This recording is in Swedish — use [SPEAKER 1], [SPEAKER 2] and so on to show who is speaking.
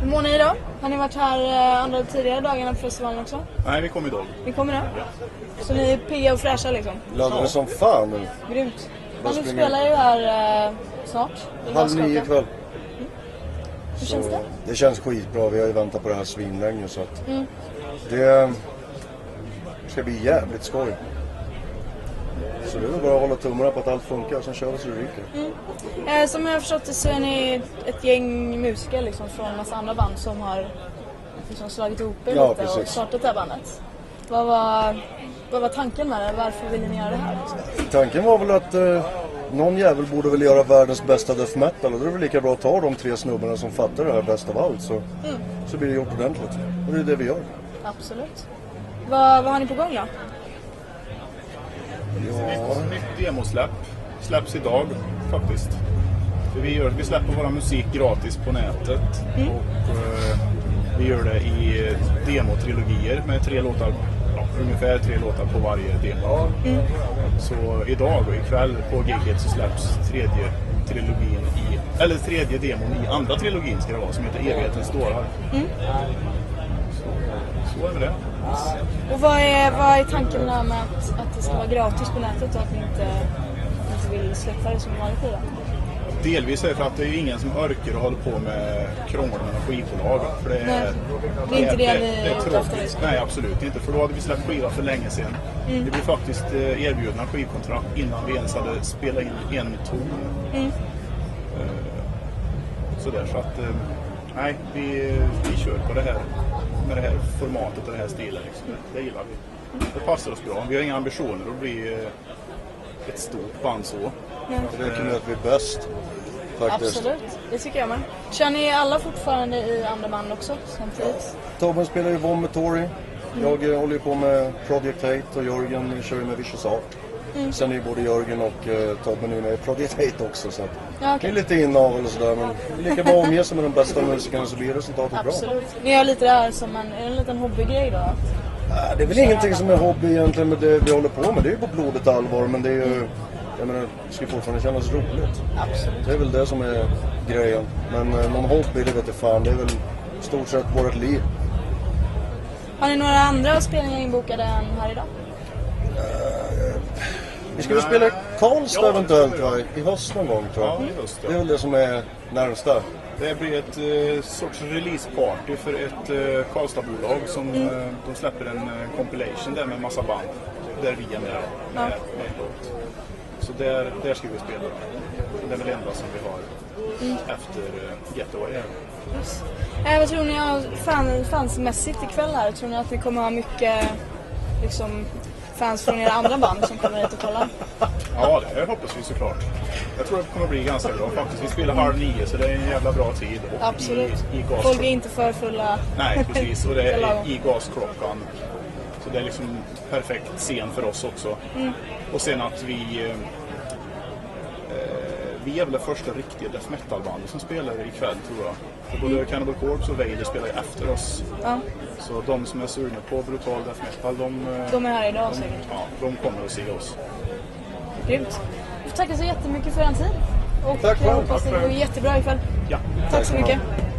[SPEAKER 1] Hur mår ni idag? Har ni varit här eh, andra tidigare dagarna på festivalen också?
[SPEAKER 2] Nej, vi kom idag.
[SPEAKER 1] Ni kommer idag? Så ni är pigga och fräscha liksom?
[SPEAKER 3] Laddade som fan nu.
[SPEAKER 1] Grymt. Ja,
[SPEAKER 3] Vad
[SPEAKER 1] ni
[SPEAKER 3] springer-
[SPEAKER 1] spelar ju här eh, snart. i
[SPEAKER 3] Halv nio
[SPEAKER 1] Glasgow.
[SPEAKER 3] ikväll.
[SPEAKER 1] Hur känns det?
[SPEAKER 3] Det känns skitbra. Vi har ju väntat på det här svinlänge så att det ska bli jävligt skoj. Så det är väl bara att hålla tummarna på att allt funkar, sen kör vi så det ryker.
[SPEAKER 1] Eh, som jag har förstått det så är ni ett gäng musiker liksom, från en massa andra band som har liksom, slagit ihop er
[SPEAKER 3] Ja,
[SPEAKER 1] lite och
[SPEAKER 3] precis.
[SPEAKER 1] startat det här bandet. Vad var, vad var tanken med det? Varför ville ni göra det här? Liksom?
[SPEAKER 3] Tanken var väl att eh, någon jävel borde väl göra världens bästa death metal och då är det väl lika bra att ta de tre snubbarna som fattar det här bäst av allt så, så blir det gjort ordentligt. Och det är det vi gör.
[SPEAKER 1] Absolut. Vad, vad har ni på gång då?
[SPEAKER 2] Nytt, nytt demosläpp. Släpps idag faktiskt. För vi, gör, vi släpper vår musik gratis på nätet. Och, eh, vi gör det i eh, demotrilogier med tre låtar, ja, ungefär tre låtar på varje demo. Så idag och ikväll på giget så släpps tredje trilogin i, eller tredje demon i andra trilogin ska det vara, som heter Evighetens dårar. Så, så är det.
[SPEAKER 1] Och vad är, vad är tanken där med att, att det ska vara gratis på nätet och att ni inte, inte vill släppa det som vanligt idag?
[SPEAKER 2] Delvis är det för att det är ju ingen som orkar och håller på med krångel med några skivbolag. För det är,
[SPEAKER 1] Nej, det är inte det ni
[SPEAKER 2] det är
[SPEAKER 1] draftar
[SPEAKER 2] tråkigt.
[SPEAKER 1] liksom.
[SPEAKER 2] Nej, absolut inte. För då hade vi släppt skiva för länge sedan.
[SPEAKER 1] Mm.
[SPEAKER 2] Vi blev faktiskt eh, erbjudna skivkontrakt innan vi ens hade spelat in en ton.
[SPEAKER 1] Mm.
[SPEAKER 2] Eh, Sådär, så att... eh, Nej, vi, vi kör på det här med det här formatet och den här stilen. Liksom. Det gillar vi. Det passar oss bra. Vi har inga ambitioner att bli eh, ett stort band så.
[SPEAKER 3] Det räcker med att vi är bäst. Faktiskt.
[SPEAKER 1] Absolut, det tycker jag med. Kör ni alla fortfarande i andra band också samtidigt?
[SPEAKER 3] Tobben spelar ju Vomitory. Jag eh, håller ju på med Project Hate och Jörgen kör ju med Vicious Art.
[SPEAKER 1] Mm.
[SPEAKER 3] Sen är ju både Jörgen och eh, Tobben nu med i Project Hate också. Så att
[SPEAKER 1] Ja, okej.
[SPEAKER 3] det är lite inavel och sådär. Men det är lika bra att omge sig med de bästa musikerna så blir resultatet bra.
[SPEAKER 1] Absolut. Ni gör lite det här som en, är det en liten hobbygrej då? Att-
[SPEAKER 3] Äh, Det är väl ingenting som är hobby egentligen med det vi håller på med. Det är ju på blodet allvar men det är ju... Jag menar, det ska ju fortfarande kännas roligt.
[SPEAKER 1] Absolut.
[SPEAKER 3] Det är väl det som är grejen. Men eh, någon hobby, det vet jag fan. Det är väl i stort sett vårt liv.
[SPEAKER 1] Har ni några andra spelningar inbokade än här idag?
[SPEAKER 3] Vi ska väl spela i Karlstad
[SPEAKER 2] Ja,
[SPEAKER 3] eventuellt
[SPEAKER 2] det ska
[SPEAKER 3] va?
[SPEAKER 2] vi
[SPEAKER 3] I höst någon gång tror jag.
[SPEAKER 2] Ja, i höst, ja.
[SPEAKER 3] Det är väl det som är närmsta.
[SPEAKER 2] Det blir ett eh, sorts releaseparty för ett eh, Karlstadbolag som
[SPEAKER 1] Mm.
[SPEAKER 2] eh, de släpper en eh, compilation där med massa band där vi är med. med, med låt. Så där, där ska vi spela. Det är väl det enda som vi har
[SPEAKER 1] Mm.
[SPEAKER 2] efter eh, Getaway. här.
[SPEAKER 1] Yes. Eh, vad tror ni har fan, fansmässigt ikväll här? Tror ni att ni kommer ha mycket liksom, fans från era andra band som kommer hit och kollar?
[SPEAKER 2] Ja, det här hoppas vi såklart. Jag tror att det kommer bli ganska bra faktiskt. Vi spelar halv nio så det är en jävla bra tid. Och
[SPEAKER 1] Absolut.
[SPEAKER 2] I, i
[SPEAKER 1] Folk
[SPEAKER 2] gas-
[SPEAKER 1] är inte för fulla.
[SPEAKER 2] Nej, precis. Och det
[SPEAKER 1] Det är lagom.
[SPEAKER 2] är i gasklockan. Så det är liksom perfekt scen för oss också. Och sen att vi... eh, eh, Vi är väl det första riktiga death metal-bandet som spelar ikväll, tror jag. För både Cannibal Corpse och Vader spelar ju efter oss.
[SPEAKER 1] Ja,
[SPEAKER 2] Så de som är sugna på brutal death metal, de... eh,
[SPEAKER 1] de är här idag
[SPEAKER 2] de,
[SPEAKER 1] säkert.
[SPEAKER 2] ja, de kommer att se oss.
[SPEAKER 1] Grymt. Vi får tacka så jättemycket för er tid. Och
[SPEAKER 3] Tack
[SPEAKER 1] jag
[SPEAKER 3] själv.
[SPEAKER 1] hoppas
[SPEAKER 2] Tack
[SPEAKER 1] det går
[SPEAKER 2] själv.
[SPEAKER 1] jättebra ikväll.
[SPEAKER 2] Ja.
[SPEAKER 1] Tack så mycket.